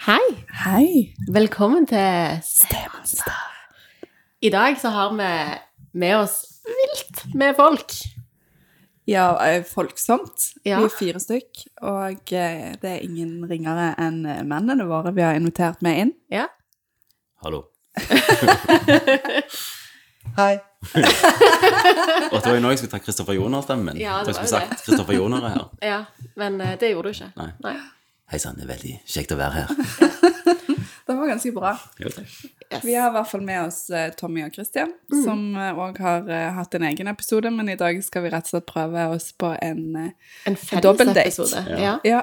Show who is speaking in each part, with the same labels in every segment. Speaker 1: Hei,
Speaker 2: Hei.
Speaker 1: velkommen til
Speaker 2: Stemonstad.
Speaker 1: I dag så har vi med oss vilt med folk.
Speaker 2: Ja, eh, folksomt.
Speaker 1: Ja.
Speaker 2: Vi er fire stykk, og eh, det er ingen ringere enn eh, mennene våre vi har invitert med inn.
Speaker 1: Ja.
Speaker 3: Hallo.
Speaker 2: Hei.
Speaker 3: Og det var jo nå jeg skulle ta Kristoffer Joner-stemmen.
Speaker 1: Ja, det
Speaker 3: Jeg
Speaker 1: var
Speaker 3: skulle
Speaker 1: jo det.
Speaker 3: sagt Kristoffer Joner er her.
Speaker 1: ja, men eh, det gjorde du ikke.
Speaker 3: Nei. Hei sann, det er veldig kjekt å være her.
Speaker 2: Det var ganske bra.
Speaker 3: Jo, takk.
Speaker 1: Yes. Mm.
Speaker 2: Vi har i hvert fall med oss eh, Tommy og Christian, som òg har eh, hatt en egen episode, men i dag skal vi rett og slett prøve oss på en eh,
Speaker 1: En felles
Speaker 2: Dobbelt date.
Speaker 1: episode.
Speaker 3: Ja.
Speaker 1: Ja.
Speaker 2: Ja.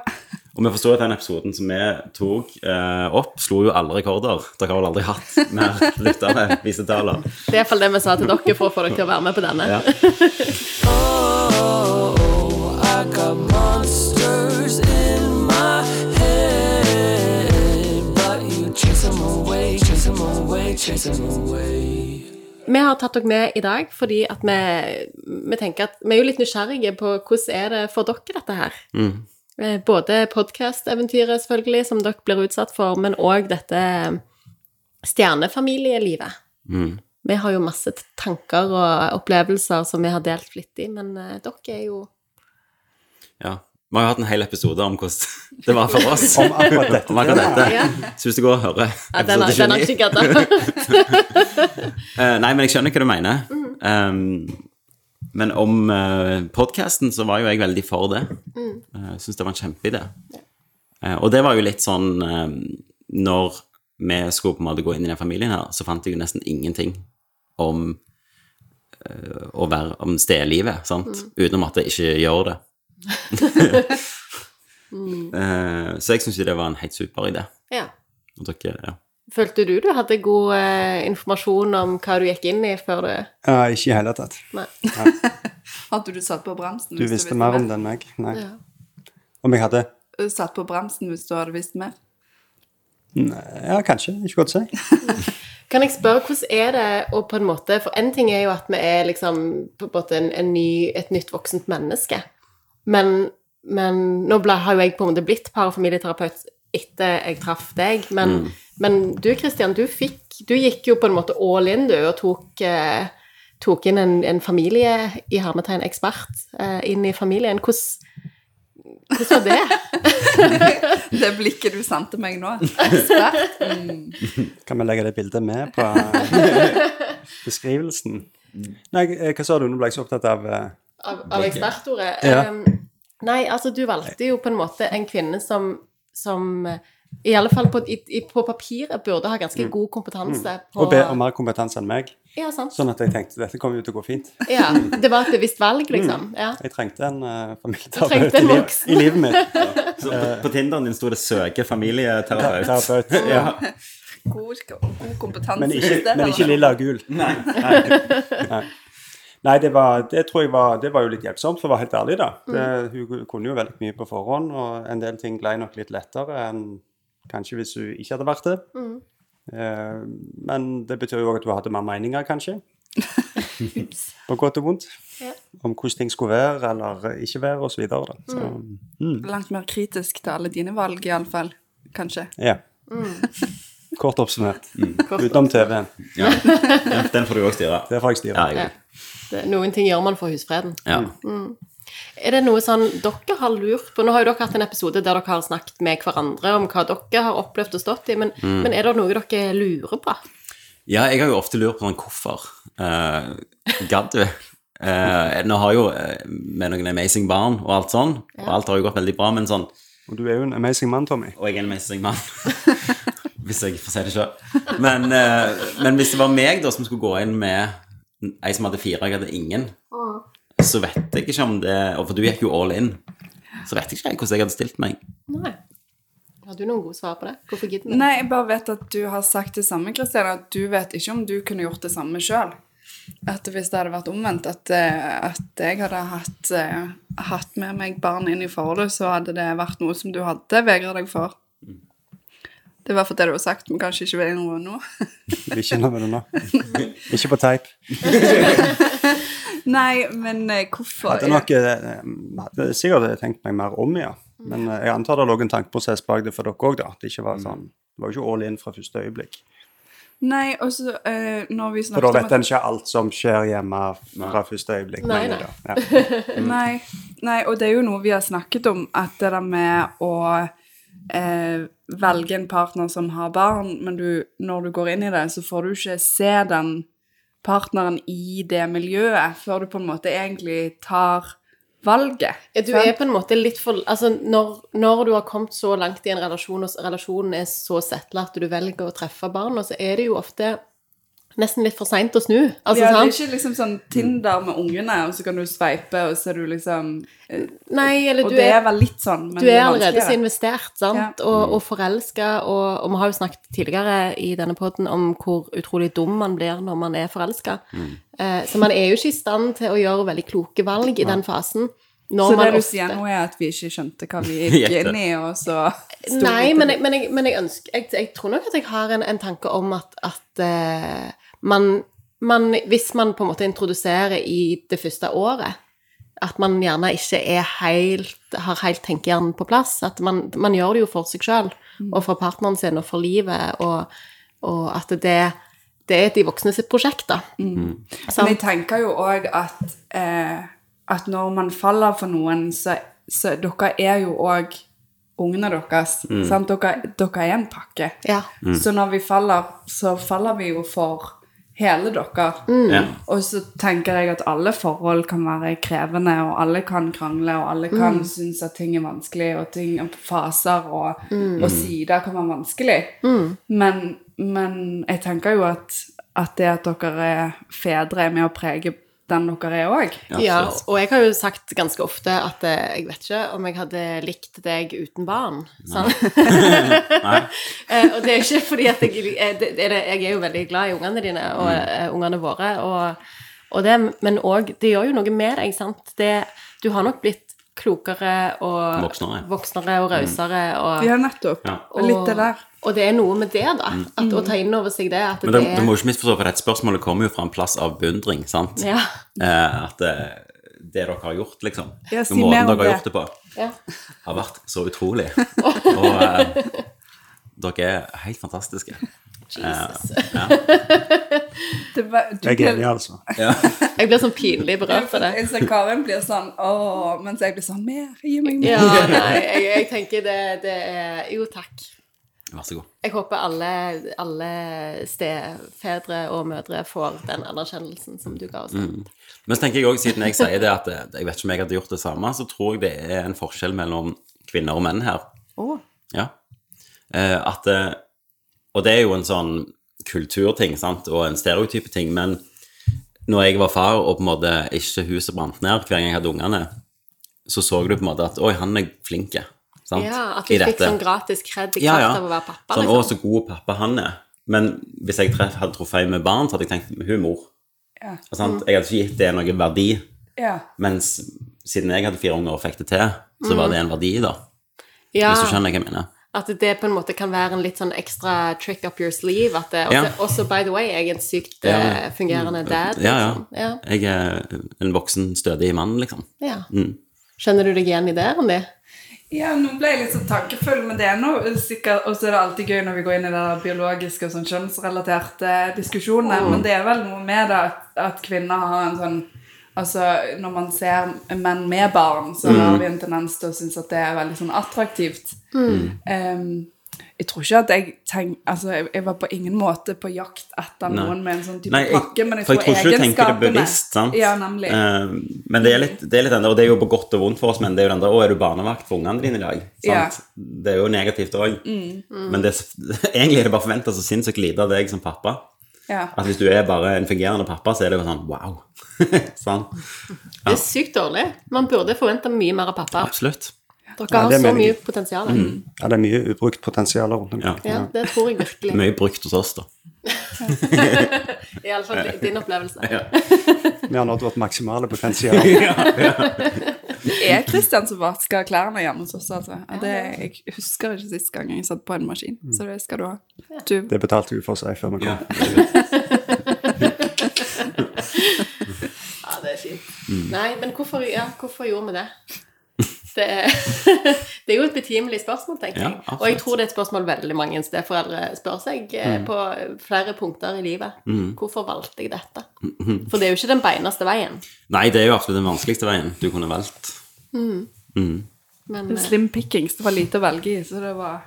Speaker 3: Og vi forstår at den episoden som vi tok eh, opp, slo jo alle rekorder. Dere har vel aldri hatt mer lyttere, visetaler.
Speaker 1: Det er i hvert fall det vi sa til dere for å få dere til å være med på denne.
Speaker 3: Ja.
Speaker 1: Vi har tatt dere med i dag fordi at vi, vi tenker at vi er jo litt nysgjerrige på hvordan er det for dere dette her. Eh, Både podkast-eventyret selvfølgelig, som dere blir utsatt for, men òg dette stjernefamilielivet. Vi har jo masse tanker og opplevelser som vi har delt flittig, men eh, dere er jo
Speaker 3: ja. Vi har jo hatt en hel episode om hvordan det var for oss.
Speaker 4: Om akkurat dette.
Speaker 3: Om akkurat dette.
Speaker 1: Ja.
Speaker 3: Så hvis du går og hører
Speaker 1: ja, Den har
Speaker 3: episode
Speaker 1: den har
Speaker 3: 29.
Speaker 1: ikke gadda.
Speaker 3: Eh, nei, men jeg skjønner hva du mener. Um, men om uh, podkasten så var jo jeg veldig for det. Mm. Syns det var en kjempeidé. Eh, og det var jo litt sånn um, Når vi skulle på en måte gå inn i den familien her, så fant jeg jo nesten ingenting om eh, å være om stedlivet, sant? Utenom at jeg ikke gjør det. Eh, så jeg syns jo det var en helt super idé.
Speaker 1: Ja.
Speaker 3: Og dere, ja.
Speaker 1: Følte du du hadde god eh, informasjon om hva du gikk inn i før du
Speaker 4: Ja, ikke i hele tatt.
Speaker 1: Nei.
Speaker 2: Hadde du satt på bremsen?
Speaker 4: Du visste mer om det enn meg. Nei.
Speaker 1: Ja.
Speaker 4: Om jeg hadde
Speaker 2: Satt på bremsen hvis du hadde visst mer?
Speaker 4: Ja, kanskje. Ikke godt å si.
Speaker 1: Kan jeg spørre, hvordan er det å på en måte For en ting er jo at vi er liksom på en måte en, en ny, et nytt voksent menneske. Men, men nå ble, har jo jeg på en måte blitt parafamilieterapeut etter jeg traff deg. Men, men du, Kristian, du fikk Du gikk jo på en måte all in, du, og tok, eh, tok inn en, en familie, i hermetegn ekspert, eh, inn i familien. Hvordan, hvordan var det?
Speaker 2: Det blikket du sendte meg nå. Ekspert. Mm.
Speaker 4: Kan vi legge det bildet med på beskrivelsen? Nei, eh, hva sa du? Nå ble jeg så opptatt av eh,
Speaker 1: av, av ekspertordet.
Speaker 4: Ja.
Speaker 1: Um, nei, altså du valgte jo på en måte en kvinne som, som eh, i alle fall på, i, i, på papiret burde ha ganske god kompetanse på
Speaker 4: å Mm. be om mer kompetanse enn meg.
Speaker 1: Ja, sant.
Speaker 4: Sånn at jeg tenkte dette kommer jo til å gå fint.
Speaker 1: Ja, det var et bevisst valg, liksom. Ja.
Speaker 4: Jeg trengte en uh,
Speaker 1: trengte
Speaker 4: familieterapeut
Speaker 1: en
Speaker 4: i, liv,
Speaker 1: voksen.
Speaker 4: i livet mitt.
Speaker 3: Så på, på Tinderen din sto det 'søke familieterapeut'.
Speaker 4: Terapeut.
Speaker 3: Ja.
Speaker 2: God, god kompetanse.
Speaker 4: Men ikke,
Speaker 2: Det
Speaker 4: men ikke
Speaker 2: var-
Speaker 4: lilla og gul. Nei. Nei. det, var, det tror jeg var, det var jo litt hjelpsomt, for å være helt ærlig, da. Det, hun kunne jo veldig mye på forhånd, og en del ting glei nok litt lettere enn kanskje hvis hun ikke hadde vært det. Eh, men det betyr jo òg at hun hadde mer meninger, kanskje. på godt og vondt.
Speaker 1: Ja.
Speaker 4: Om hvordan ting skulle være eller ikke være, osv. Så videre, da. så,
Speaker 2: Langt mer kritisk til alle dine valg, iallfall. Kanskje.
Speaker 4: ja. Kort oppsummert. Utenom TV-en.
Speaker 3: Ja. ja, den får du òg styre.
Speaker 4: Det får jeg styre.
Speaker 3: Ja, jeg,
Speaker 1: Ja. Det, noen ting gjør man for husfreden.
Speaker 3: ja.
Speaker 1: Er det noe sånn dere har lurt på Nå har jo dere hatt en episode der dere har snakket med hverandre om hva dere har opplevd og stått i, men,
Speaker 4: Mm.
Speaker 1: men er det noe dere lurer på?
Speaker 3: ja, jeg har jo ofte lurt på sånn hvorfor. Uh, Gadd du? Eh, nå har jo eh, med noen amazing barn og alt sånn, og alt har jo gått veldig bra, men sånn
Speaker 4: Og du er jo en amazing mann, Tommy.
Speaker 3: Og jeg er en amazing mann. hvis jeg får si det sjøl. Men, eh, men hvis det var meg da som skulle gå inn med ei som hadde fire, og jeg hadde ingen, så vet jeg ikke om det Og for du gikk jo all in. Så vet jeg ikke hvordan jeg hadde stilt meg.
Speaker 1: Nei. Har du noen gode svar på det? Hvorfor gidder vi?
Speaker 2: Nei, jeg bare vet at du har sagt det samme, Kristian, at du vet ikke om du kunne gjort det samme sjøl. At hvis det hadde vært omvendt, at, eh, at jeg hadde hatt, eh, hatt med meg barn inn i forholdet, så hadde det vært noe som du hadde vegra deg for. Det var for det du har sagt, men kanskje ikke vil innrømme nå.
Speaker 4: Vi vil ikke innrømme det nå. Ikke på teip.
Speaker 2: Nei, men eh, hvorfor?
Speaker 4: Hadde nok eh, hadde sikkert tenkt meg mer om, ja. Men eh, jeg antar det lå en tankeprosess bak det for dere òg, da. Det, ikke
Speaker 1: Mm.
Speaker 4: var sånn, det var jo ikke all in fra første øyeblikk.
Speaker 2: Nei, og så eh, når vi
Speaker 4: For da
Speaker 2: snakket
Speaker 4: vet en ikke alt som skjer hjemme fra første øyeblikk.
Speaker 1: Nei,
Speaker 4: mener jeg da. Ja.
Speaker 2: Nei, nei, og det er jo noe vi har snakket om, at det der med å eh, velge en partner som har barn, men du, når du går inn i det, så får du ikke se den partneren i det miljøet før du på en måte egentlig tar valget.
Speaker 1: Ja, Du er på en måte litt for Altså, når, når du har kommet så langt i en relasjon, og s- relasjonen er så settla at du velger å treffe barna, så er det jo ofte nesten litt for seint å snu. Altså,
Speaker 2: ja, det er
Speaker 1: sant?
Speaker 2: ikke liksom sånn Tinder med ungene, og så kan du sveipe, og så er du liksom eh,
Speaker 1: Nei, eller
Speaker 2: Og
Speaker 1: du
Speaker 2: det
Speaker 1: er
Speaker 2: er vel litt sånn, men
Speaker 1: Du er
Speaker 2: vanskeligere.
Speaker 1: allerede så investert, sant, og, og forelska, og, og vi har jo snakket tidligere i denne podden om hvor utrolig dum man blir når man er forelska. Eh, så man er jo ikke i stand til å gjøre veldig kloke valg i den fasen. Når
Speaker 2: Så det
Speaker 1: man
Speaker 2: du
Speaker 1: ofte-
Speaker 2: sier nå, er at vi ikke skjønte hva vi gikk
Speaker 3: Gjette.
Speaker 2: inn i, og så sto
Speaker 1: Nei,
Speaker 2: vi
Speaker 1: men, jeg, men, jeg, men jeg, ønsker, jeg, jeg tror nok at jeg har en, en tanke om at, at eh, man, man Hvis man på en måte introduserer i det første året at man gjerne ikke er helt, har helt tenkehjernen på plass. At man, man gjør det jo for seg sjøl, og for partneren sin, og for livet, og, og at det, det er de voksne sitt prosjekt, da.
Speaker 2: Men
Speaker 1: Sant?
Speaker 2: jeg tenker jo òg at, eh, at når man faller for noen, så, så dere er jo òg ungene deres. Sant? Dere, dere er en pakke.
Speaker 1: Ja.
Speaker 4: Mm.
Speaker 2: Så når vi faller, så faller vi jo for hele dere.
Speaker 3: Ja.
Speaker 2: Og så tenker jeg at alle forhold kan være krevende, og alle kan krangle, og alle kan synes at ting er vanskelig, og ting og faser og, og sider kan være vanskelig. Men, men jeg tenker jo at, at det at dere er fedre, er med å prege den dere er òg.
Speaker 1: Ja,
Speaker 3: absolutt.
Speaker 1: og jeg har jo sagt ganske ofte at eh, jeg vet ikke om jeg hadde likt deg uten barn. sant? Eh, og det er ikke fordi at jeg eh, det, det er det, Jeg er jo veldig glad i ungene dine og
Speaker 3: Mm.
Speaker 1: eh, ungene våre, og, og det, men òg Det gjør jo noe med deg, sant? Det, du har nok blitt klokere og
Speaker 3: Voksnere. Mm.
Speaker 1: voksnere og rausere. Og,
Speaker 2: Ja, nettopp.
Speaker 3: Ja.
Speaker 2: Og litt det der.
Speaker 1: og det er noe med det, da. At, å ta inn over seg det. At
Speaker 3: Mm. Men det,
Speaker 1: det
Speaker 3: du
Speaker 1: er
Speaker 3: må ikke misforstå, for dette spørsmålet kommer jo fra en plass av beundring, sant?
Speaker 1: ja,
Speaker 3: Eh, at det, det dere har gjort, liksom,
Speaker 2: Ja, si
Speaker 3: og
Speaker 2: mer om
Speaker 3: måten dere har
Speaker 2: det.
Speaker 3: gjort det på,
Speaker 1: ja.
Speaker 3: har vært så utrolig. Og eh, dere er helt fantastiske.
Speaker 1: Jesus.
Speaker 2: Det var- du
Speaker 4: Jeg
Speaker 2: ble-
Speaker 4: er enig, altså.
Speaker 1: Jeg blir sånn pinlig berørt av det.
Speaker 2: Jeg ser Karen blir sånn åh, mens jeg blir sånn mer, gi meg mer.
Speaker 1: Ja, nei, jeg, jeg tenker det, det er Jo, takk.
Speaker 3: Vær så god.
Speaker 1: Jeg håper alle, alle stefedre og mødre får den anerkjennelsen som du ga oss.
Speaker 3: Mm, Men så tenker jeg også, siden jeg sier det at eh, jeg vet ikke om jeg hadde gjort det samme, så tror jeg det er en forskjell mellom kvinner og menn her. Ja. Eh, at, eh, og det er jo en sånn kulturting sant? og en stereotype ting, men når jeg var far og på en måte ikke huset brant ned hver gang jeg hadde ungene, så så du på en måte at oi, han er flink. sant?
Speaker 1: Ja, at
Speaker 3: I
Speaker 1: du fikk
Speaker 3: dette.
Speaker 1: sånn gratis kred i kraft
Speaker 3: Ja, ja.
Speaker 1: av å være pappa.
Speaker 3: Sånn, å,
Speaker 1: liksom.
Speaker 3: så god pappa han er. Men hvis jeg treff, hadde truffet en med barn, så hadde jeg tenkt hun er mor. Altså,
Speaker 2: Ja.
Speaker 3: Sant? Jeg hadde ikke gitt det noen verdi.
Speaker 2: Ja.
Speaker 3: Mens siden jeg hadde fire unger og fikk det til, så var det en verdi, da.
Speaker 1: ja,
Speaker 3: Hvis du skjønner hva jeg mener.
Speaker 1: at det på en måte kan være en litt sånn ekstra trick up your sleeve. At det,
Speaker 3: Ja.
Speaker 1: også, også, by the way, jeg er en sykt
Speaker 3: Ja. Mm,
Speaker 1: eh, fungerende dad.
Speaker 3: Ja, ja.
Speaker 1: Liksom. Ja.
Speaker 3: Jeg er en voksen, stødig mann, liksom.
Speaker 1: ja. Skjønner du deg igjen i det, Randi?
Speaker 2: Ja, nå ble jeg litt så tankefull, men det er noe sikkert Og så er det alltid gøy når vi går inn i det biologiske og sånn kjønnsrelaterte diskusjoner,
Speaker 3: Mm.
Speaker 2: men det er vel noe med det at, at kvinner har en sånn Altså, når man ser menn med barn,
Speaker 3: Mm.
Speaker 2: så har vi en tendens til å synes at det er veldig sånn attraktivt.
Speaker 3: Mm.
Speaker 2: Em, jeg tror ikke at jeg tenk, Altså, jeg, jeg var på ingen måte på jakt etter noen med en sånn type
Speaker 3: Nei, jeg,
Speaker 2: pakke, men jeg
Speaker 3: for
Speaker 2: tror,
Speaker 3: jeg tror ikke du tenker det
Speaker 2: egenskapene-
Speaker 3: bevisst, sant?
Speaker 2: Ja, nemlig.
Speaker 3: Eh, men det er, litt, det er litt den der, og det er jo på godt og vondt for oss, men det er jo den der, å, er du barnevakt for ungene dine i dag? Sant? Det er jo negativt òg.
Speaker 2: Mm.
Speaker 3: Men det, er s- egentlig er det bare forventa så sinnssykt lite av deg som pappa.
Speaker 2: ja.
Speaker 3: At hvis du er bare en fungerende pappa, så er det jo sånn wow. sånn.
Speaker 1: Det er sykt dårlig. Man burde forvente mye mer av pappa.
Speaker 3: Absolutt.
Speaker 1: Dere har
Speaker 4: det
Speaker 1: så
Speaker 4: mener
Speaker 1: mye
Speaker 4: jeg.
Speaker 1: potensial.
Speaker 3: Mm.
Speaker 4: Ja, det er mye ubrukt potensial rundt omkring.
Speaker 1: Ja, det tror jeg virkelig.
Speaker 3: Mye brukt hos oss, da.
Speaker 1: Iallfall din opplevelse.
Speaker 4: Vi har nådd vårt maksimale potensial.
Speaker 2: er Kristian som vasker klærne hjemme hos oss, altså. Ja, Det, jeg husker ikke sist gang jeg satt på en maskin, så det skal du ha. Du,
Speaker 4: Det betalte hun for seg før vi kom.
Speaker 3: Mm.
Speaker 1: Ja, det er fint. Nei, men hvorfor, ja, hvorfor gjorde vi det? Det er, det er jo et betimelig spørsmål, tenker
Speaker 3: Ja,
Speaker 1: jeg.
Speaker 3: absolutt. Mm.
Speaker 1: og jeg tror det er et spørsmål veldig mange steforeldre spør seg eh, på flere punkter i livet. Hvorfor valgte jeg dette?
Speaker 3: Mm-hmm.
Speaker 1: For det er jo ikke den beineste veien.
Speaker 3: Nei, det er jo absolutt den vanskeligste veien du kunne valgt.
Speaker 1: Men
Speaker 2: Men
Speaker 1: eh,
Speaker 2: Slim pickings. Det var lite å velge i, så det var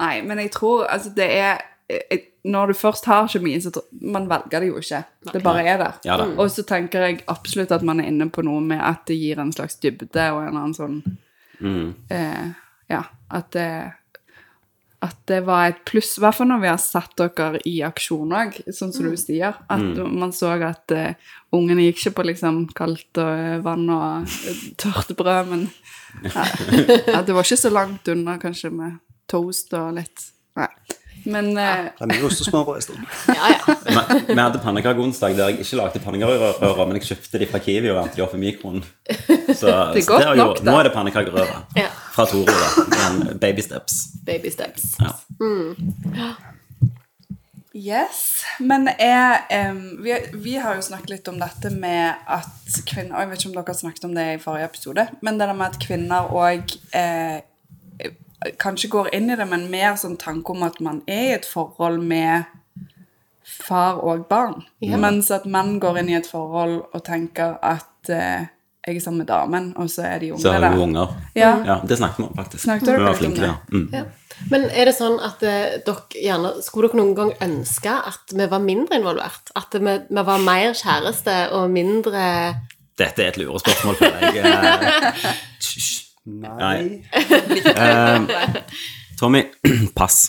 Speaker 2: Nei, men jeg tror altså det er jeg- Når du først har kjemien, så tror- man velger det jo ikke. Det bare er der.
Speaker 3: Ja da.
Speaker 2: Og så tenker jeg absolutt at man er inne på noe med at det gir en slags dybde og en eller annen sånn
Speaker 3: Mm.
Speaker 2: eh, Ja. At det at det var et pluss, i hvert fall når vi har satt dere i aksjon òg, sånn som du sier. At
Speaker 3: Mm.
Speaker 2: man så at eh, ungene gikk ikke på liksom kaldt og eh, vann og eh, tørt brød, men ja. at det var ikke så langt unna, kanskje, med toast og litt Nei. Men eh,
Speaker 4: Det er mye ostesmørbrød i stedet.
Speaker 1: ja, ja.
Speaker 3: Vi vi hadde pannekakeonsdag der jeg ikke lagde pannekakerører, men jeg kjøpte de fra Kiwi og vant de opp i mikroen. Så
Speaker 2: Det er
Speaker 3: så
Speaker 2: godt
Speaker 3: har jeg
Speaker 2: nok,
Speaker 3: gjort.
Speaker 2: da.
Speaker 3: nå er det pannekakerører
Speaker 1: Ja.
Speaker 3: fra Toro. da. Men Baby steps.
Speaker 1: Baby steps.
Speaker 3: Ja.
Speaker 2: Yes, men er, em, vi, vi har jo snakket litt om dette med at kvinner og Jeg vet ikke om dere snakket om det i forrige episode, men det der med at kvinner òg eh, kanskje går inn i det med en mer sånn tanke om at man er i et forhold med far og barn, mens at menn går inn i et forhold og tenker at eh, jeg er sammen med damen, og så er de unge
Speaker 3: Så har
Speaker 2: der.
Speaker 3: vi jo unger.
Speaker 2: Ja.
Speaker 3: Det snakket vi om, faktisk.
Speaker 2: Snakket dere
Speaker 3: vi var
Speaker 2: litt om
Speaker 3: flinke
Speaker 2: det?
Speaker 3: der. Mm.
Speaker 1: Ja. Men er det sånn at eh, dere gjerne Skulle dere noen gang ønske at vi var mindre involvert? At vi, vi var mer kjæreste og mindre
Speaker 3: Dette er et lurespørsmål for deg. Eh, hysj.
Speaker 4: Nei.
Speaker 3: Eh, Tommy, pass.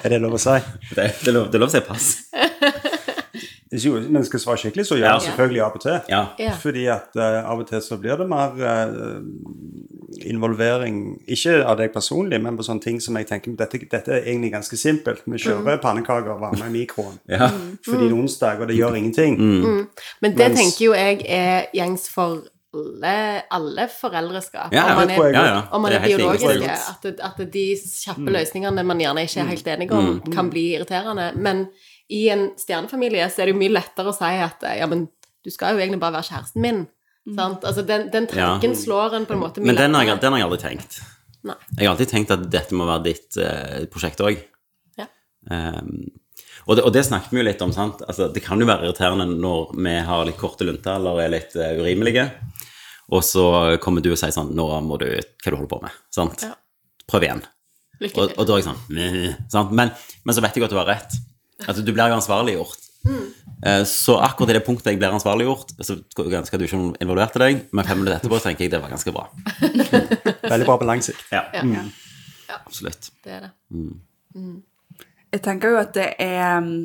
Speaker 4: Er det lov å si?
Speaker 3: Det, det, er lov, det er lov å si pass.
Speaker 4: Hvis jo men skal svare skikkelig, så gjør
Speaker 3: Ja.
Speaker 4: jeg selvfølgelig av og til.
Speaker 3: Ja.
Speaker 1: Ja.
Speaker 4: Fordi at eh, av og til så blir det mer eh, involvering, ikke av deg personlig, men på sånne ting som jeg tenker dette, dette er egentlig ganske simpelt. Vi kjører
Speaker 1: Mm.
Speaker 4: pannekaker og varmer i mikroen
Speaker 3: ja. Mm.
Speaker 4: fordi det er onsdag, og det gjør ingenting.
Speaker 1: Men det
Speaker 4: Mens-
Speaker 1: tenker jo jeg er gjengs for alle, alle foreldreskap.
Speaker 3: Ja,
Speaker 1: om man er
Speaker 4: det tror jeg
Speaker 3: ja, ja.
Speaker 1: Om man
Speaker 3: Det
Speaker 1: er
Speaker 3: helt Mm. enig.
Speaker 1: biologiske,
Speaker 4: Det er
Speaker 1: at, det- at det- de kjappe løsningene man gjerne
Speaker 3: Mm.
Speaker 1: ikke er helt enige om, kan bli irriterende. Men i en stjernefamilie så er det jo mye lettere å si at eh, ja, men du skal jo egentlig bare være kjæresten min. Sant? Altså den, den tanken
Speaker 3: Ja.
Speaker 1: slår en på en måte mye
Speaker 3: Men den har,
Speaker 1: lettere.
Speaker 3: jeg, den har jeg aldri tenkt.
Speaker 1: Nei.
Speaker 3: Jeg har alltid tenkt at dette må være ditt eh, prosjekt òg.
Speaker 1: Ja.
Speaker 3: og, det- og det snakket vi jo litt om. sant? Altså, det kan jo være irriterende når vi har litt korte lunter eller er litt eh, urimelige, og så kommer du og sier sånn Nå må du Hva du holder på med? sant?
Speaker 1: Ja.
Speaker 3: Prøv igjen.
Speaker 1: Lykke
Speaker 3: Og, og da er jeg sånn «Meh», sant? Men, men så vet jeg at du har rett. At du blir jo ansvarliggjort.
Speaker 1: Mm.
Speaker 3: Eh, Så akkurat i det punktet jeg blir ansvarliggjort, så skulle jeg ønske at du ikke involverte deg, men fem minutter etterpå tenker jeg det var ganske bra.
Speaker 4: Veldig bra på lang sikt.
Speaker 3: Ja, Mm.
Speaker 1: Ja,
Speaker 3: absolutt.
Speaker 1: det er det.
Speaker 2: Jeg tenker jo at det er mm,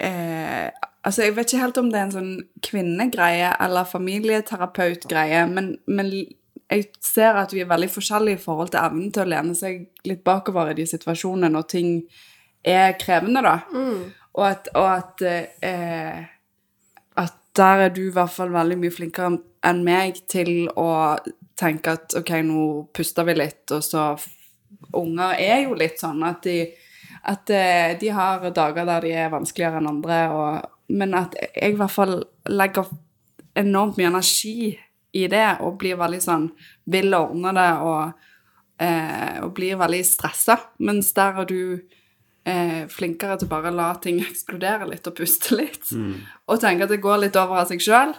Speaker 2: eh, Altså, jeg vet ikke helt om det er en sånn kvinnegreie eller familieterapeutgreie, men, men jeg ser at vi er veldig forskjellige i forhold til evnen til å lene seg litt bakover i de situasjonene når ting er krevende, da. Og at, og at eh, at der er du i hvert fall veldig mye flinkere enn meg til å tenke at ok, nå puster vi litt, og så Unger er jo litt sånn at de, at eh, de har dager der de er vanskeligere enn andre, og, men at jeg i hvert fall legger enormt mye energi i det, og blir veldig sånn vil ordne det, og, eh, og blir veldig stressa. Mens der er du eh, flinkere til bare å la ting eksplodere litt og puste litt.
Speaker 3: Mm.
Speaker 2: Og tenke at det går litt over av seg sjøl.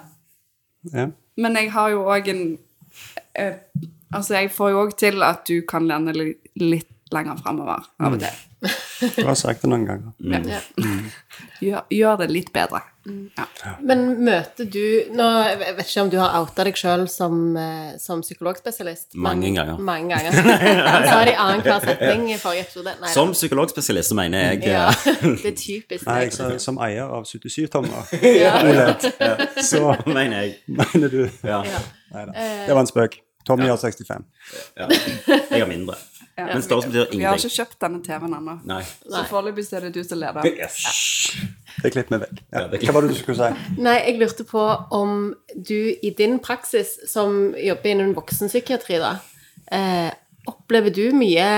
Speaker 4: Ja.
Speaker 2: Men jeg har jo òg en eh, Altså, jeg får jo òg til at du kan lene li- litt lenger framover
Speaker 3: Mm.
Speaker 2: av og til.
Speaker 4: Du har sagt det noen ganger.
Speaker 1: Ja.
Speaker 2: Gjør, gjør det litt bedre. Ja.
Speaker 1: Men møter du nå, Jeg vet ikke om du har outa deg sjøl som, eh, som psykologspesialist. men-
Speaker 3: Mange ganger.
Speaker 1: Mange ganger. Han sa det i annenhver setning i forrige episode. Nei,
Speaker 3: Som psykologspesialist så mener jeg
Speaker 1: ja,
Speaker 3: eh,
Speaker 1: Det er typisk.
Speaker 4: Nei,
Speaker 1: deg.
Speaker 4: jeg, sa- som eier av 77 tommer,
Speaker 1: ja.
Speaker 4: så
Speaker 3: eh, mener jeg.
Speaker 4: mener du
Speaker 3: Ja,
Speaker 4: Nei da. Det var en spøk. Tommy har 65.
Speaker 3: ja. Jeg har mindre. Men størrelse betyr
Speaker 2: Vi har
Speaker 3: ingenting.
Speaker 2: ikke kjøpt denne TV-en ennå.
Speaker 3: Nei.
Speaker 2: Så
Speaker 1: Nei.
Speaker 2: foreløpig så er det du som leder.
Speaker 4: Det klipper vi vekk. Ja.
Speaker 3: Ja, det klipper-
Speaker 4: Hva var det du skulle si?
Speaker 1: Nei, jeg lurte på om du i din praksis som jobber innen voksenpsykiatri, da, eh, opplever du mye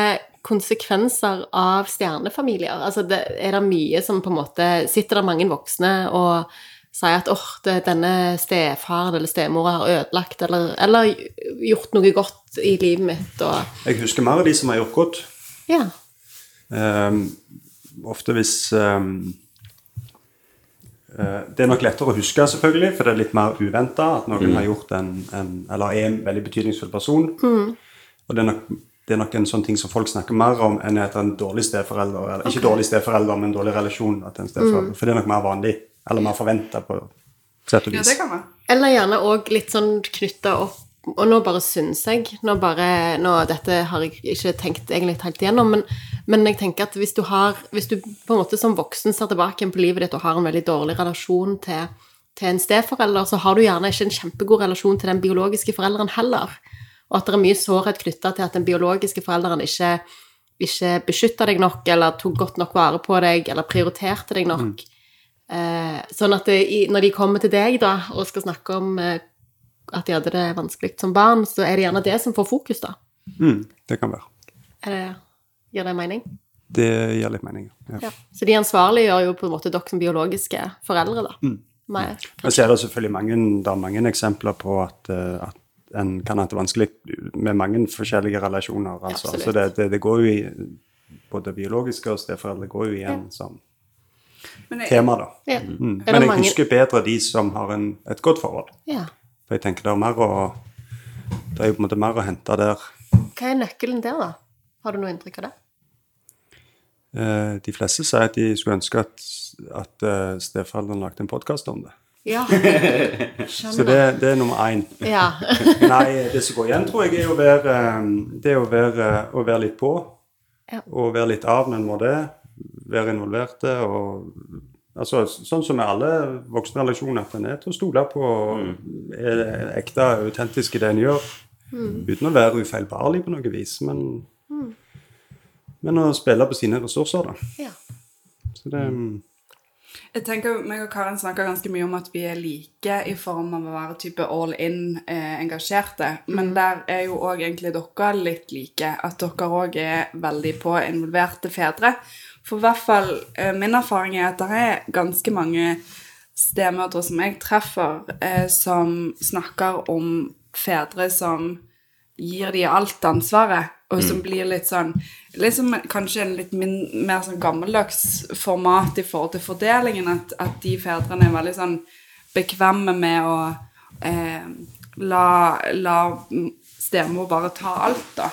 Speaker 1: konsekvenser av stjernefamilier? Altså, det, er det mye som på en måte Sitter det mange voksne og sier at åh, det- denne stefaren eller stemora har ødelagt eller, eller gjort noe godt i livet mitt og
Speaker 4: Jeg husker mer av de som har gjort godt.
Speaker 1: Ja.
Speaker 4: Ehm, ofte hvis ehm, eh, Det er nok lettere å huske, selvfølgelig, for det er litt mer uventa at noen har gjort en, en Eller er en veldig betydningsfull person.
Speaker 2: Mm.
Speaker 4: Og det er, nok, det er nok en sånn ting som folk snakker mer om enn at en dårlig steforelder eller Ikke dårlig steforelder, men dårlig relasjon. At en steforelder,
Speaker 2: Mm.
Speaker 4: For det er nok mer vanlig. Eller mer forventa, på sett og
Speaker 2: Ja,
Speaker 4: vis.
Speaker 2: det kan være.
Speaker 1: Eller gjerne òg litt sånn knytta opp Og nå bare syns jeg. Nå bare nå, Dette har jeg ikke tenkt egentlig helt igjennom, men, men jeg tenker at hvis du har Hvis du på en måte som voksen ser tilbake igjen på livet ditt og har en veldig dårlig relasjon til, til en steforelder, så har du gjerne ikke en kjempegod relasjon til den biologiske forelderen heller. Og at det er mye sårhet knytta til at den biologiske forelderen ikke, ikke beskytta deg nok, eller tok godt nok vare på deg, eller prioriterte deg nok. Eh, sånn at det, i, når de kommer til deg da, og skal snakke om eh, at de hadde det vanskelig som barn, så er det gjerne det som får fokus, da.
Speaker 4: Mm, det kan være.
Speaker 1: Er det, gir det mening?
Speaker 4: Det gir litt mening. Ja.
Speaker 1: Så de ansvarliggjør jo på en måte dere som biologiske foreldre, da.
Speaker 4: Mm.
Speaker 1: Mer.
Speaker 4: Men så er det selvfølgelig mange, det er mange eksempler på at, eh, at en kan ha det vanskelig med mange forskjellige relasjoner. Altså.
Speaker 1: Absolutt.
Speaker 4: Så det, det, det går jo i Både biologiske og steforeldre går jo igjen som
Speaker 2: Men jeg,
Speaker 4: tema, da.
Speaker 1: Ja. Er
Speaker 4: Mm. Men
Speaker 1: det
Speaker 4: jeg
Speaker 1: mange
Speaker 4: husker bedre de som har en, et godt forhold.
Speaker 1: Ja.
Speaker 4: For jeg tenker det er mer å det er jo på en måte mer å hente der.
Speaker 1: Hva er nøkkelen der, da? Har du noe inntrykk av det?
Speaker 4: Eh, De fleste sier at de skulle ønske at, at eh, steforeldrene lagde en podkast om det.
Speaker 1: Ja.
Speaker 4: Så det, det er nummer én.
Speaker 1: ja.
Speaker 4: Nei, det som går igjen, tror jeg, er å være, eh, det er å være, å være litt på.
Speaker 1: Ja.
Speaker 4: Og være litt av når en må det. Være involverte. og altså, Sånn som med alle voksne relasjoner, at en er til å stole på er ekte, autentisk i det en gjør. Uten å være ufeilbarlig på noe vis, men, men å spille på sine ressurser, da.
Speaker 1: ja.
Speaker 4: Så det, um,
Speaker 2: jeg tenker, meg og Karin snakker ganske mye om at vi er like i form av å være type all in eh, engasjerte, men der er jo òg egentlig dere litt like, at dere òg er veldig på involverte fedre. For i hvert fall eh, min erfaring er at det er ganske mange stemødre som jeg treffer, eh, som snakker om fedre som gir de alt ansvaret, og som blir litt sånn liksom Kanskje en litt min, mer sånn gammeldags format i forhold til fordelingen, at, at de fedrene er veldig sånn bekvemme med å eh, la, la stemor bare ta alt, da.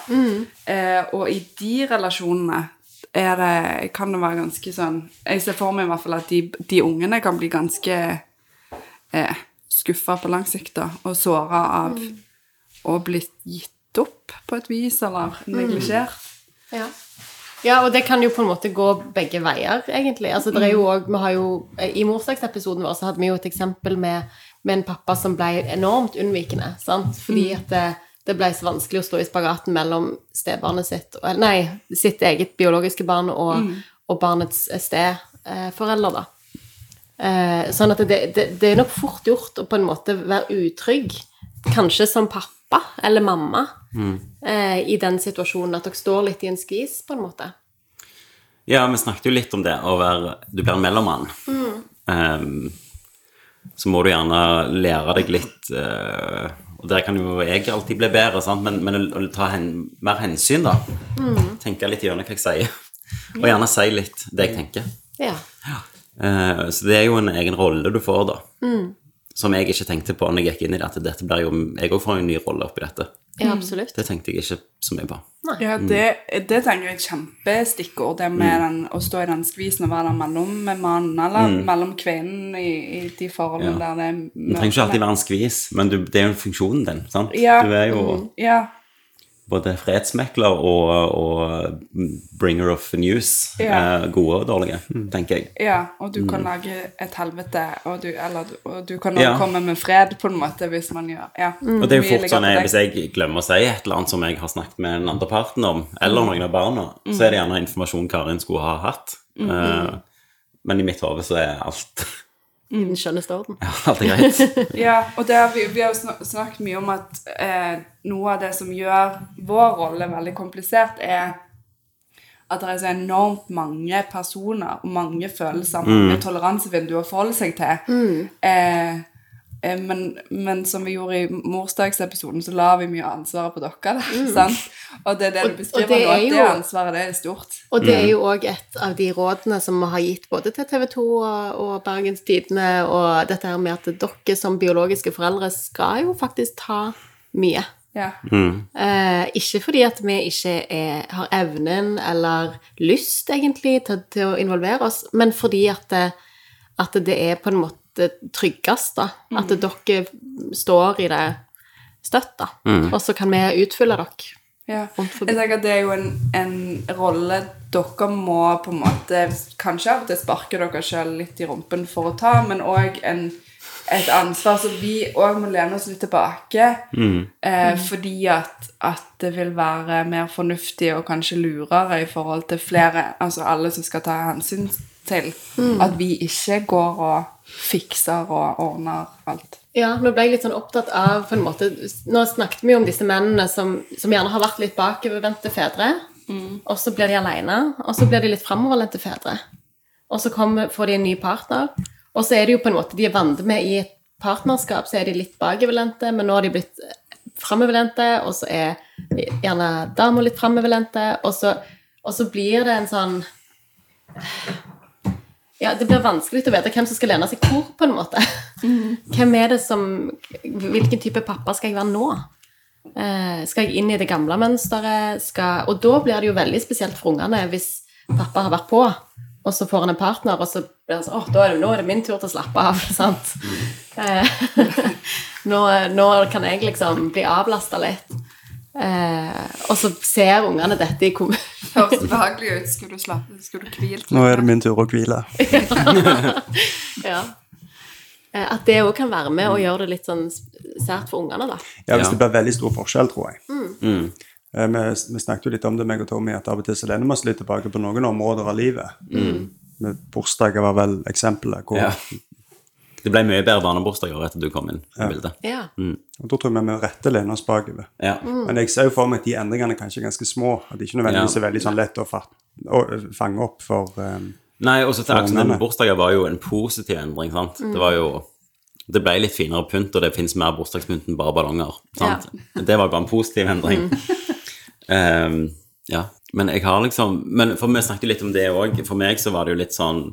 Speaker 2: Eh, og i de relasjonene er det, kan det være ganske sånn Jeg ser for meg i hvert fall at de, de ungene kan bli ganske eh, skuffa på lang sikt, da, og såra av å bli gitt opp på et vis, eller neglisjert.
Speaker 1: Ja. ja, og det kan jo på en måte gå begge veier, egentlig. Altså, det er jo også, vi har jo, eh, I morsdagsepisoden vår så hadde vi jo et eksempel med, med en pappa som ble enormt unnvikende. sant? Fordi at det, det ble så vanskelig å stå i spagaten mellom stebarnet sitt, og- nei, sitt eget biologiske barn og, og barnets steforelder, da. Eh, sånn at det, det, det er nok fort gjort å på en måte være utrygg, kanskje som pappa eller mamma, eh, i den situasjonen at dere står litt i en skvis, på en måte.
Speaker 3: Ja, vi snakket jo litt om det å være Du blir en mellommann. Ehm, så må du gjerne lære deg litt eh, Og der kan jo jeg alltid bli bedre, sant? men, men å ta hen, mer hensyn, da. Tenke litt gjennom hva jeg sier. Og gjerne si litt det jeg tenker.
Speaker 1: Ja.
Speaker 3: Eh, så det er jo en egen rolle du får, da.
Speaker 2: Mm.
Speaker 3: Som jeg ikke tenkte på når jeg gikk inn i det, at dette blir jo Jeg òg får jo en ny rolle oppi dette.
Speaker 1: ja, absolutt.
Speaker 3: Det tenkte jeg ikke så mye på.
Speaker 2: Ja,
Speaker 3: Mm.
Speaker 2: det, det tenker jeg er et kjempestikkord, det med den, å stå i den skvisen og være der mellom mannen eller mellom kvinnen i, i de forholdene
Speaker 3: Mm. Ja.
Speaker 2: der det er
Speaker 3: Det trenger ikke alltid være en skvis, men du, det er jo funksjonen din. sant?
Speaker 2: Ja. Mm.
Speaker 3: Du er jo
Speaker 2: Ja,
Speaker 3: både fredsmekler og, og bringer of news.
Speaker 2: Ja.
Speaker 3: Eh, gode og dårlige, tenker jeg.
Speaker 2: ja, og du kan lage et helvete, og du, eller, du- og du kan også
Speaker 3: Mm. Ja.
Speaker 2: komme med fred, på en måte, hvis man gjør ja.
Speaker 3: Og det er jo
Speaker 2: Mye
Speaker 3: fort
Speaker 2: ligger
Speaker 3: sånn,
Speaker 2: på
Speaker 3: jeg,
Speaker 2: deg.
Speaker 3: Hvis jeg glemmer å si et eller annet som jeg har snakket med den andre parten om,
Speaker 2: Mm.
Speaker 3: eller noen av barna, så er det gjerne informasjon Karin skulle ha hatt.
Speaker 2: Mm,
Speaker 3: Eh, men i mitt hode så er alt,
Speaker 1: Innen skjønneste orden.
Speaker 3: alt er greit.
Speaker 2: Ja, og det, har vi, vi har jo snak- snakket mye om at eh, noe av det som gjør vår rolle veldig komplisert, er at det er så enormt mange personer og mange følelser, mange toleransevinduer å forholde seg til.
Speaker 1: Mm.
Speaker 2: Eh, eh, men, men som vi gjorde i morsdagsepisoden, så la vi mye av ansvaret på dere. Da, sant? Og det er
Speaker 1: Mm.
Speaker 2: det
Speaker 1: Og-
Speaker 2: du
Speaker 1: og
Speaker 2: beskriver
Speaker 1: det
Speaker 2: nå,
Speaker 1: er
Speaker 2: at
Speaker 1: jo-
Speaker 2: det ansvaret det er stort.
Speaker 1: Og det er jo òg et av de rådene som vi har gitt både til TV 2 og, og Bergens Tidende, og dette her med at dere som biologiske foreldre skal jo faktisk ta mye.
Speaker 2: Ja.
Speaker 1: Eh, ikke fordi at vi ikke er, har evnen eller lyst, egentlig, til, til å involvere oss, men fordi at det, at det er på en måte tryggest, da. At dere står i det støtt, da. Og så kan vi utfylle dere.
Speaker 2: Ja.
Speaker 1: Rundt forbi.
Speaker 2: Jeg tenker at det er jo en, en rolle dere må på en måte Kanskje av og til sparke dere sjøl litt i rumpen for å ta, men òg et ansvar som vi òg må lene oss litt tilbake.
Speaker 4: Mm.
Speaker 2: Eh, fordi at, at det vil være mer fornuftig og kanskje lurere i forhold til flere, altså alle som skal ta hensyn til, at vi ikke går og fikser og ordner alt.
Speaker 1: Ja, nå ble jeg litt sånn opptatt av på en måte, Nå snakket vi jo om disse mennene som, som gjerne har vært litt bakovervendte fedre. Og så blir de alene, og så blir de litt framoverlente fedre. Og så kommer, får de en ny partner, og så er det jo på en måte de er vant med i et partnerskap, så er de litt bakoverlente, men nå har de blitt framoverlente, og så er gjerne dama litt framoverlente, og, så- og så blir det en sånn ja, Det blir vanskelig å vite hvem som skal lene seg hvor, på en måte. Hvem er det som Hvilken type pappa skal jeg være nå? Eh, skal jeg inn i det gamle mønsteret? Skal, og da blir det jo veldig spesielt for ungene hvis pappa har vært på, og så får han en partner, og så blir han sånn Å, da er det, nå er det min tur til å slappe av. Sant? Eh, nå, nå kan jeg liksom bli avlasta litt. Eh, og så ser ungene dette i kommunen.
Speaker 2: Høres behagelig ut. Skulle du slappe, skulle du hvilt litt?
Speaker 4: Nå er det min tur å hvile.
Speaker 1: ja. Eh, At det òg kan være med og gjøre det litt sånn sært for ungene, da.
Speaker 4: Ja, hvis
Speaker 3: Ja. Mm.
Speaker 4: det blir veldig stor forskjell, tror jeg. Eh, Vi, vi snakket jo litt om det, meg og Tommy, at av og til så lener vi oss litt tilbake på noen områder av livet. Med Bursdager var vel eksempelet. Hvor,
Speaker 3: Mm. Ja. Det ble mye bedre barnebursdager etter du kom inn i bildet.
Speaker 1: Ja.
Speaker 4: og Da tror jeg vi med rette lener oss bakover.
Speaker 3: Ja.
Speaker 4: Men jeg ser jo for meg at de endringene kanskje er ganske små. At de ikke nødvendigvis
Speaker 3: Ja.
Speaker 4: er veldig sånn lett å, fat, å øh, fange opp for ehm,
Speaker 3: Nei, også til Aksel,
Speaker 4: Ungene.
Speaker 3: men bursdager var jo en positiv endring, sant. Det var jo Det ble litt finere pynt, og det fins mer bursdagspynt enn bare ballonger. sant? Det var bare en positiv endring. Ehm, ja. Men jeg har liksom men For vi snakket jo litt om det òg. For meg så var det jo litt sånn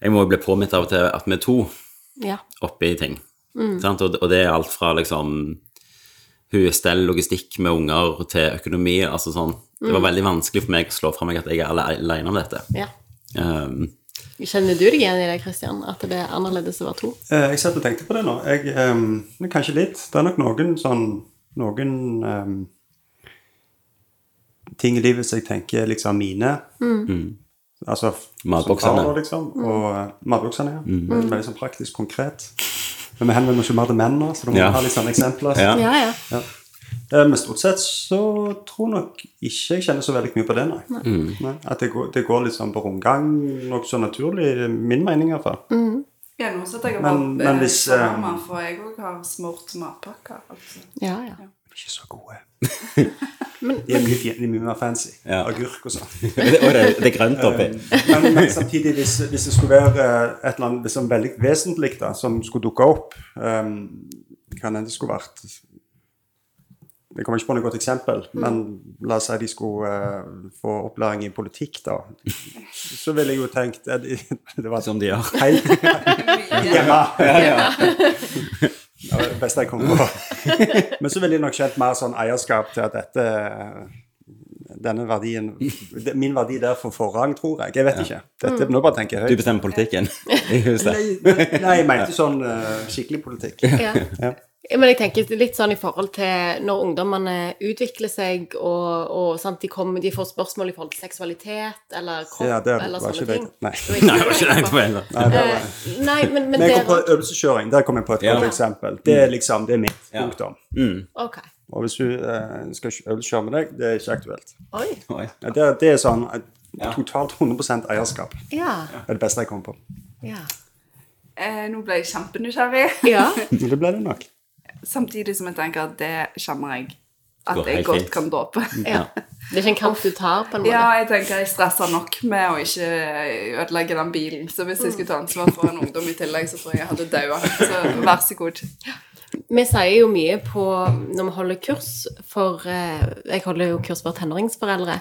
Speaker 3: Jeg må jo bli påminnet av og til at vi er to.
Speaker 1: ja.
Speaker 3: oppi ting. Sant? Og, og det er alt fra liksom husstell, logistikk med unger til økonomi. altså sånn. Det var veldig vanskelig for meg å slå fra meg at jeg er ale- alene om dette.
Speaker 1: ja.
Speaker 3: Um,
Speaker 1: Kjenner du deg igjen i det, Christian? At det er annerledes å være to?
Speaker 4: Eh, Jeg satt og tenkte på det nå. Jeg, ehm, men kanskje litt. Det er nok noen sånn Noen ehm, ting i livet som jeg tenker er liksom mine. Altså f-
Speaker 3: Mm.
Speaker 4: som
Speaker 3: Matboksene. Mm.
Speaker 4: far, Liksom, og eh, matboksene, ja. Men Veldig sånn praktisk, konkret. Men vi henvender oss jo mer til menn nå, så du må
Speaker 3: Ja.
Speaker 4: ha litt sånne eksempler.
Speaker 3: Ja.
Speaker 1: Ja, ja.
Speaker 4: Ja. Eh, Men stort sett så tror nok ikke jeg kjenner så veldig mye på det, nei. nei at det går, det går litt sånn på rundgang, nokså naturlig, min mening i hvert fall.
Speaker 2: Ja, nå setter jeg
Speaker 4: Men-
Speaker 2: opp
Speaker 4: men
Speaker 2: eh,
Speaker 4: hvis,
Speaker 2: shawarma, for jeg òg har smurt matpakker. Altså.
Speaker 1: ja, ja.
Speaker 4: Ikke så gode.
Speaker 1: Men-
Speaker 4: de, er mye, fin- de er mye mer fancy.
Speaker 3: Ja.
Speaker 4: Agurk og sånn. Eh,
Speaker 3: og det, det er grønt oppi.
Speaker 4: Men, men samtidig, hvis, hvis det skulle være eh, et eller annet liksom, veldig vesentlig da, som skulle dukke opp um, Kan hende det skulle vært Jeg kommer ikke på noe godt eksempel,
Speaker 1: Mm.
Speaker 4: men la oss si de skulle eh, få opplæring i politikk, da. Så ville jeg jo tenkt at det, det var
Speaker 3: Som de gjør.
Speaker 4: helt
Speaker 2: Mye.
Speaker 4: hjemme. Det var det beste jeg kom på. Men så ville jeg nok kjent mer sånn eierskap til at dette denne verdien, det- Min verdi der får forrang, tror jeg. Jeg vet ikke. Dette, nå bare tenker jeg
Speaker 3: Du
Speaker 4: høyt.
Speaker 3: bestemmer politikken i huset.
Speaker 4: Nei, nei, jeg mente sånn eh, skikkelig politikk.
Speaker 1: Ja.
Speaker 4: Ja.
Speaker 1: Men jeg tenker litt sånn i forhold til når ungdommene utvikler seg, og, og sant, de, kommer, de får spørsmål i forhold til seksualitet eller kropp
Speaker 4: Ja, det
Speaker 1: eller
Speaker 4: var
Speaker 1: sånne
Speaker 4: ikke det.
Speaker 1: ting.
Speaker 4: Nei.
Speaker 1: Det
Speaker 3: Nei, det var ikke det jeg mente.
Speaker 4: Nei, det var-
Speaker 1: Eh, Nei, men, men
Speaker 4: Men jeg
Speaker 1: det
Speaker 4: kom på øvelseskjøring. Der kom jeg på et godt
Speaker 3: Ja. Mm.
Speaker 4: eksempel. Det er liksom, det er mitt.
Speaker 3: Ja.
Speaker 4: Punktum.
Speaker 1: Ok.
Speaker 4: Og hvis du eh, skal øvelseskjøre med deg, det er ikke aktuelt.
Speaker 1: Oi.
Speaker 3: Oi.
Speaker 4: Ja, Det, det er sånn eh,
Speaker 3: Ja.
Speaker 4: totalt 100 eierskap. Det
Speaker 1: Ja.
Speaker 4: er det beste jeg kom på.
Speaker 1: Ja.
Speaker 2: Eh, nå ble jeg kjempenysgjerrig.
Speaker 1: ja.
Speaker 4: Men det ble det nok.
Speaker 2: Samtidig som jeg tenker at det skjemmer jeg. At
Speaker 3: Går
Speaker 2: jeg
Speaker 3: helt
Speaker 2: godt
Speaker 3: fint. Mm.
Speaker 2: kan dåpe.
Speaker 1: Ja. Det er ikke en kamp du tar, på en måte.
Speaker 2: Ja, jeg tenker jeg stresser nok med å ikke ødelegge den bilen. Så hvis jeg skulle ta ansvar for en ungdom i tillegg, så tror jeg jeg hadde daua. Så vær så god.
Speaker 1: Vi sier jo mye på når vi holder kurs for eh, Jeg holder jo kurs for tenåringsforeldre.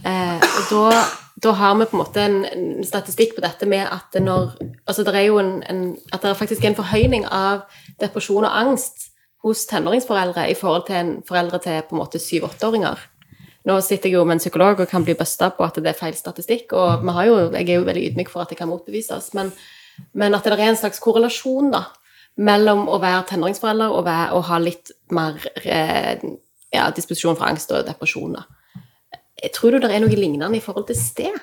Speaker 1: Eh, og da, da har vi på en måte en, en statistikk på dette med at det når Altså det er jo en, en At det er faktisk en forhøyning av depresjon og angst hos tenåringsforeldre i forhold til en foreldre til på en måte syv-åtteåringer. Nå sitter jeg jo med en psykolog og kan bli busta på at det er feil statistikk, og vi har jo, jeg er jo veldig ydmyk for at det kan motbevises, men, men at det er en slags korrelasjon, da mellom å være tenåringsforelder og, være, og ha litt mer eh, ja, disposisjon for angst og depresjon. da. Jeg Tror du det er noe lignende i forhold til sted?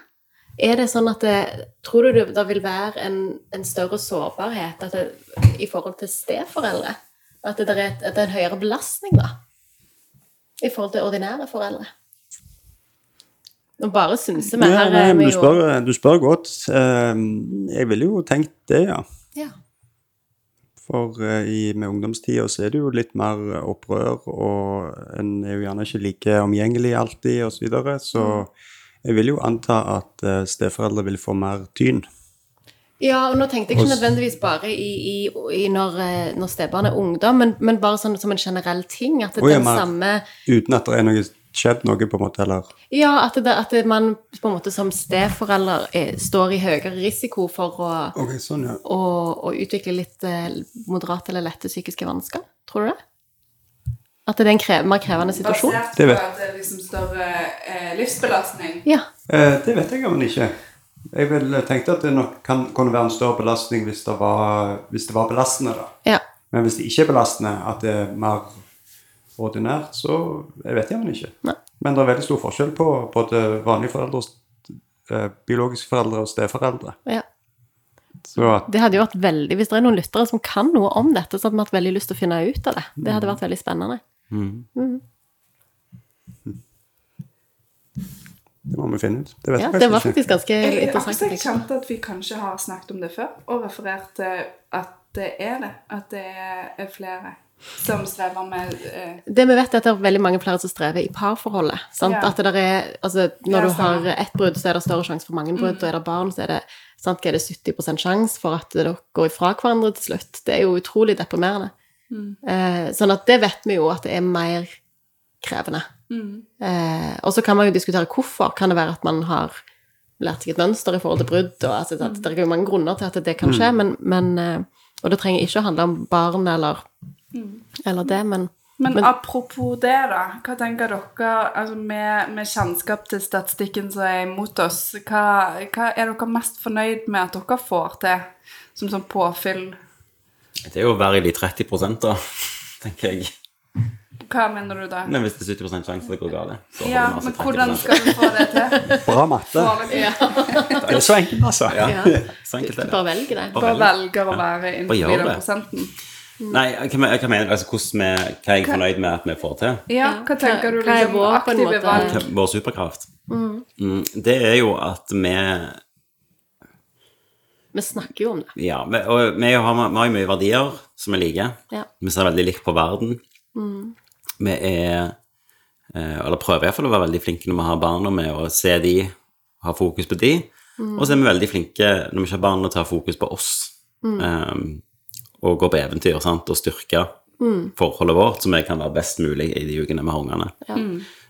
Speaker 1: Er det sånn at det, Tror du det, det vil være en, en større sårbarhet at det, i forhold til steforeldre? At det, der er, et, at det er en høyere belastning da, i forhold til ordinære foreldre? Nå bare synser vi.
Speaker 4: Ja,
Speaker 1: Her eh,
Speaker 4: nei,
Speaker 1: er
Speaker 4: men
Speaker 1: vi
Speaker 4: du,
Speaker 1: jo
Speaker 4: spør, du spør godt. Eh, Jeg ville jo tenkt det, ja.
Speaker 1: ja.
Speaker 4: For eh, i, med ungdomstida så er det jo litt mer opprør, og en er jo gjerne ikke like omgjengelig alltid, osv. Så, videre. så
Speaker 1: Mm.
Speaker 4: jeg vil jo anta at eh, steforeldre vil få mer tyn.
Speaker 1: Ja, og nå tenkte jeg
Speaker 4: Og
Speaker 1: ikke
Speaker 4: s-
Speaker 1: nødvendigvis bare i, i, i når, eh, når stebarn er ungdom, men, men bare sånn som en generell ting. At det
Speaker 4: Å, ja,
Speaker 1: den
Speaker 4: men-
Speaker 1: samme
Speaker 4: Uten at det er noe skjedd noe, på en måte, eller
Speaker 1: Ja, at, det, at det man på en måte som steforelder eh, står i høyere risiko for å,
Speaker 4: Ok, sånn, ja.
Speaker 1: å, å utvikle litt eh, moderate eller lette psykiske vansker? Tror du det? At det er en krev, mer krevende situasjon?
Speaker 2: Basert
Speaker 4: Det
Speaker 2: på
Speaker 4: vet-
Speaker 2: at det er liksom større eh, livsbelastning.
Speaker 1: Ja.
Speaker 4: Eh, det vet jeg om ikke. Jeg ville tenkt at det nok kan, kunne være en større belastning hvis det var, hvis det var belastende, da.
Speaker 1: ja.
Speaker 4: Men hvis det ikke er belastende, at det er mer ordinært, så jeg vet jeg men ikke.
Speaker 1: Nei.
Speaker 4: Men det er veldig stor forskjell på både vanlige foreldre, og st- eh, biologiske foreldre og steforeldre.
Speaker 1: ja.
Speaker 4: Så at,
Speaker 1: Det hadde jo vært veldig, Hvis det er noen lyttere som kan noe om dette, så hadde vi hatt veldig lyst til å finne ut av det. Det hadde vært veldig spennende.
Speaker 4: det må vi finne ut. Det vet
Speaker 1: Ja,
Speaker 4: jeg
Speaker 1: Det var
Speaker 4: faktisk ikke.
Speaker 1: faktisk ganske
Speaker 2: Jeg, altså,
Speaker 1: interessant. å
Speaker 2: jeg
Speaker 1: tenke på.
Speaker 2: kjente at vi kanskje har snakket om det før, og referert til at det er det. At det er flere som strever med eh,
Speaker 1: Det vi vet, er at det er veldig mange flere som strever i parforholdet. Sant?
Speaker 2: Ja.
Speaker 1: At det der er, altså, når
Speaker 2: Ja, Mm.
Speaker 1: du har
Speaker 2: stemmer.
Speaker 1: ett brudd, så er det større sjanse for mange brudd. Og er det barn, så er det, sant, er det 70 sjanse for at dere går ifra hverandre til slutt. Det er jo utrolig deprimerende.
Speaker 2: Mm.
Speaker 1: Eh, sånn at det vet vi jo at det er mer krevende.
Speaker 2: Mm.
Speaker 1: Eh, og så kan man jo diskutere hvorfor. Kan det være at man har lært seg et mønster i forhold til brudd? Og, altså, at Det er jo mange grunner til at det kan skje, men, men, eh, og det trenger ikke å handle om barn eller,
Speaker 2: Mm.
Speaker 1: eller det, men
Speaker 2: Men,
Speaker 1: Men-
Speaker 2: apropos det, da. Hva tenker dere, altså med, med kjennskap til statistikken som er imot oss, hva, hva er dere mest fornøyd med at dere får til som sånn påfyll?
Speaker 3: Det er jo å være i de 30 da, tenker jeg.
Speaker 2: Hva mener du da?
Speaker 3: Men hvis det er 70 sjanse for at det går galt, så får
Speaker 2: Ja,
Speaker 3: man altså
Speaker 2: men hvordan
Speaker 3: 30%.
Speaker 2: skal du få det til?
Speaker 4: Bra matte.
Speaker 2: Foreløpig.
Speaker 4: Det er så enkelt, altså.
Speaker 3: Ja.
Speaker 1: Ja.
Speaker 3: Så enkelt
Speaker 1: Du
Speaker 3: er det.
Speaker 1: bare velger det.
Speaker 2: Bare velger å være
Speaker 3: gjør
Speaker 2: innenfor den
Speaker 3: det.
Speaker 2: prosenten.
Speaker 3: Nei, hva men- hva mener du? Altså, hvordan vi, hva er jeg fornøyd med at vi får til?
Speaker 2: Ja,
Speaker 1: Ja,
Speaker 2: hva tenker du
Speaker 1: hva er
Speaker 2: liksom
Speaker 1: vår, på en
Speaker 2: aktive
Speaker 1: måte?
Speaker 2: valg?
Speaker 3: Til Vår superkraft. Mm, det er jo at vi
Speaker 1: Vi snakker jo om det.
Speaker 3: Ja, men- og vi har, vi har jo mye verdier som vi liker.
Speaker 1: Ja.
Speaker 3: Vi ser veldig likt på verden. Mm. Vi er eh, Eller prøver iallfall å være veldig flinke når vi har barna, med å se de, ha fokus på de. Og så er vi veldig flinke når vi ikke har barn, å ta fokus på oss. Ehm, og gå på eventyr sant? og styrke Mm. forholdet vårt, som kan være best mulig i de ukene vi har ungene.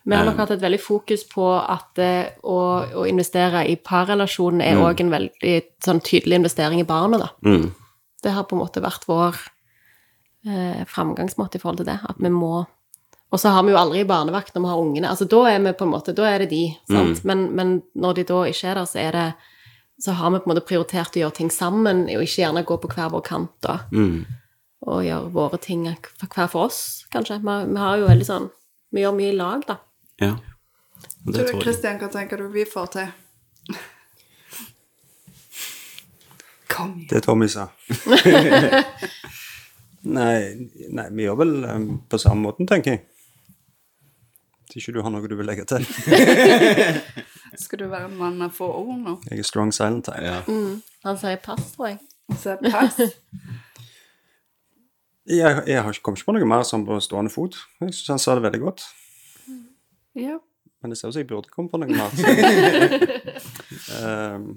Speaker 1: Vi har nok hatt et veldig fokus på at eh, å, å investere i parrelasjonen er òg en veldig sånn, tydelig investering i barna, da.
Speaker 3: Mm.
Speaker 1: Det har på en måte vært vår eh, framgangsmåte i forhold til det. At vi må Og så har vi jo aldri barnevakt når vi har ungene. Altså da er vi på en måte Da er det de, sant. Men, men når de da ikke er der, så er det så har vi på en måte prioritert å gjøre ting sammen, og ikke gjerne gå på hver vår kant. da. og gjøre våre ting hver for oss, kanskje. Vi, vi har jo veldig sånn Vi gjør mye i lag, da.
Speaker 3: Ja. Og det
Speaker 2: Tror du,
Speaker 3: tror jeg.
Speaker 2: Kristian, hva tenker du vi får til? Kom igjen.
Speaker 4: Det Tommy sa. nei, nei, vi gjør vel eh, på samme måten, tenker jeg. Hvis ikke du har noe du vil legge til.
Speaker 2: Skal du være en mann av få ord nå?
Speaker 4: Jeg er strong silent type.
Speaker 3: Ja.
Speaker 2: Mm.
Speaker 1: Han sier pass, tror jeg.
Speaker 2: Så pass.
Speaker 4: Jeg, jeg har ikke kommet på noe mer sånn på stående fot. Jeg syns han sa det veldig godt.
Speaker 2: Ja.
Speaker 4: Men det ser ut som jeg burde komme på noe mat. så- Ehm,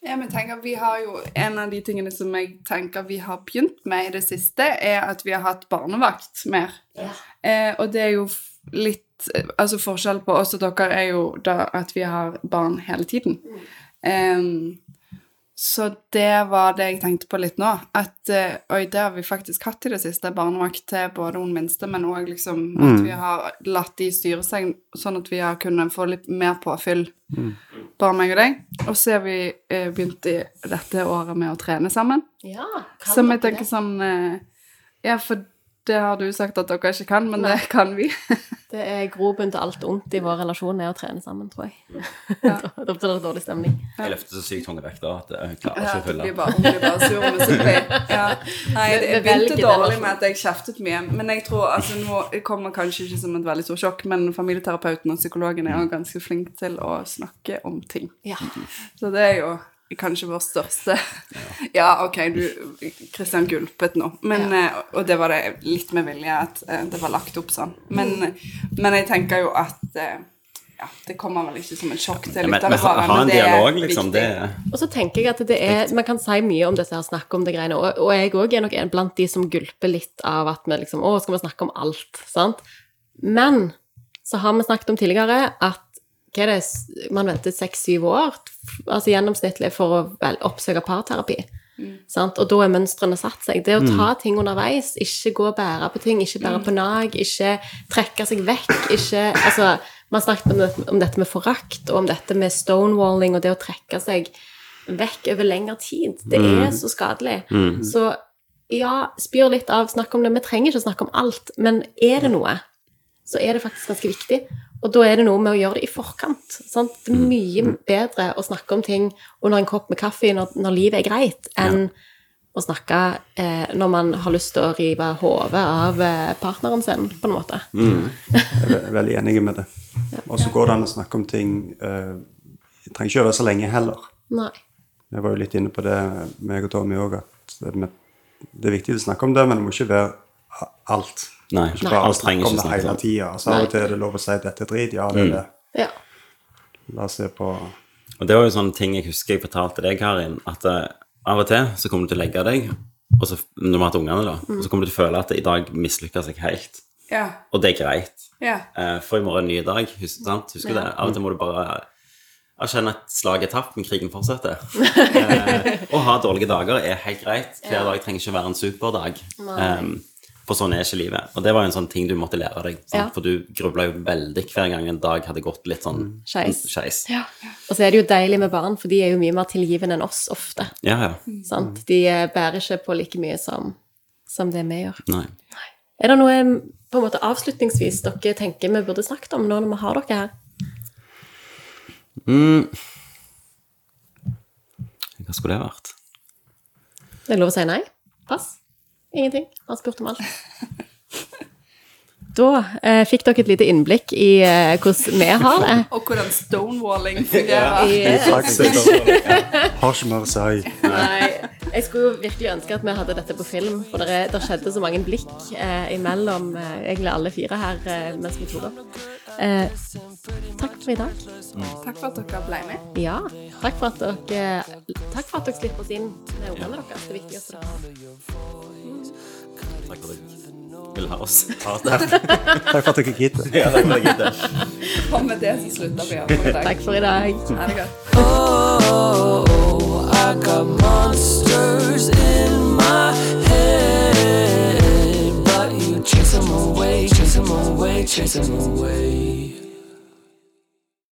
Speaker 2: Ja, men tenk at vi har jo, En av de tingene som jeg tenker vi har begynt med i det siste, er at vi har hatt barnevakt mer. Eh, og det er jo f- litt eh, altså Forskjellen på oss og dere er jo da at vi har barn hele tiden. Eh, så det var det jeg tenkte på litt nå. At eh, oi, det har vi faktisk hatt i det siste. Barnevakt til både hun minste, men òg liksom at vi har latt de styre seg, sånn at vi har kunnet få litt mer påfyll bare meg og deg. Og så har vi eh, begynt i dette året med å trene sammen.
Speaker 1: Ja, kan
Speaker 2: Som jeg
Speaker 1: dere
Speaker 2: tenker sånn eh, Ja, for det har du sagt at dere ikke kan, men det kan vi.
Speaker 1: Det Det er grobunn til alt ondt i vår relasjon er å trene sammen, tror jeg. da da blir det dårlig stemning.
Speaker 3: Jeg løfter så sykt tunge vekter at jeg klarer
Speaker 2: Ja,
Speaker 3: ikke å
Speaker 2: det blir
Speaker 3: fylle.
Speaker 2: bare, hun blir bare sur og misunnelig. Ja. Nei,
Speaker 1: Vi- vi
Speaker 2: det jeg begynte
Speaker 1: velger
Speaker 2: dårlig
Speaker 1: relasjon.
Speaker 2: med at jeg kjeftet mye. Men jeg tror altså, nå det kommer kanskje ikke som et veldig stort sjokk, men familieterapeuten og psykologen er jo ganske flink til å snakke om ting.
Speaker 1: Ja.
Speaker 2: Så det er jo kanskje vår største Ja, ok, du Kristian gulpet nå, men, eh, og det var det litt med vilje at eh, det var lagt opp sånn. Men, men jeg tenker jo at eh, ja, det kommer vel ikke som et sjokk til
Speaker 3: Men,
Speaker 2: lytterne
Speaker 3: men ha,
Speaker 2: våre,
Speaker 3: ha
Speaker 2: men
Speaker 3: en
Speaker 2: det er
Speaker 3: dialog,
Speaker 2: viktig.
Speaker 3: liksom. Det er
Speaker 1: Og så tenker jeg at det er Man kan si mye om dette her, snakke om det greiene, og, og jeg òg er nok en blant de som gulper litt av at vi liksom Å, skal vi snakke om alt? Sant? Men så har vi snakket om tidligere at hva er det, s- man venter seks-syv år f- altså gjennomsnittlig for å vel, oppsøke parterapi. Sant? Og da er mønstrene satt seg. Det å ta ting underveis, ikke gå og bære på ting, ikke bære på nag, ikke trekke seg vekk, ikke Altså, man snakket om, det, om dette med forakt, og om dette med stonewalling, og det å trekke seg vekk over lengre tid. Det er så skadelig. Så ja, spyr litt av, snakk om det. Vi trenger ikke å snakke om alt, men er det noe, så er det faktisk ganske viktig. Og da er det noe med å gjøre det i forkant. Sant? Det er mye bedre å snakke om ting under en kopp med kaffe når, når livet er greit, enn å snakke eh, når man har lyst til å rive hodet av eh, partneren sin, på en måte.
Speaker 4: jeg er ve- veldig enig med det. Og så går det an å snakke om ting eh, Jeg trenger ikke å være så lenge heller.
Speaker 1: Nei.
Speaker 4: Jeg var jo litt inne på det, meg og Tommy òg, at det med- det er viktig å snakke om det, men det må ikke være a- alt.
Speaker 3: Nei,
Speaker 4: Ikke
Speaker 3: alt
Speaker 4: bare
Speaker 3: trenger
Speaker 4: snakke om
Speaker 3: ikke
Speaker 4: det
Speaker 3: snakke om. Mm.
Speaker 4: hele tida. Altså, av og til er det lov å si at dette er drit. Ja, det er det.
Speaker 1: Ja.
Speaker 4: La oss se på
Speaker 3: Og det var jo sånne ting jeg husker jeg fortalte deg, Karin, at eh, av og til så kommer du til å legge deg, og så, når vi har hatt ungene, da,
Speaker 2: Mm.
Speaker 3: og så kommer du til å føle at i dag mislykkes jeg helt.
Speaker 2: Ja,
Speaker 3: Og det er greit.
Speaker 2: ja.
Speaker 3: Eh, for i morgen er en ny dag. Husk, sant? Husker du det? Av og til må du bare erkjenne at slaget er tapt, men krigen fortsetter. eh, å ha dårlige dager er helt greit. Hver dag trenger ikke være en superdag. Em, for sånn er ikke livet. Og det var jo en sånn ting du måtte lære deg. Sant?
Speaker 1: Ja.
Speaker 3: For du grubla jo veldig hver gang en dag hadde gått litt sånn
Speaker 1: Mm. Skeis.
Speaker 3: skeis.
Speaker 1: ja. Og så er det jo deilig med barn, for de er jo mye mer tilgivende enn oss ofte.
Speaker 3: Ja, ja.
Speaker 1: Sant? De eh, bærer ikke på like mye som, som det vi gjør.
Speaker 3: Nei.
Speaker 1: Er det noe på en måte avslutningsvis dere tenker vi burde snakket om nå når vi har dere her?
Speaker 3: Hva skulle det vært?
Speaker 1: Det er lov å si nei. Pass. Ingenting. Han spurte om alt. Da eh, fikk dere et lite innblikk i eh, hvordan vi har det.
Speaker 2: Og hvordan stonewalling fungerer.
Speaker 4: I praksis har ikke mer å si.
Speaker 1: Nei, jeg skulle jo virkelig ønske at vi hadde dette på film, for det, det skjedde så mange blikk eh, imellom eh, egentlig alle fire her eh, mens vi tok opp. Eh, takk for i dag.
Speaker 2: Takk for at dere ble med.
Speaker 1: Ja, takk for at dere, takk for at dere slipper oss inn med ungene deres. Det viktigste.
Speaker 3: Takk for at du vil ha oss. Ha oss der.
Speaker 4: Takk for at dere gidder.
Speaker 3: Ja, takk for at jeg gidder.
Speaker 2: Og med det så slutter vi opp i dag.
Speaker 1: Takk for i dag.
Speaker 2: Ha det godt.
Speaker 5: Oh, I got monsters in my head. But you chase them away, chase them away, chase them away.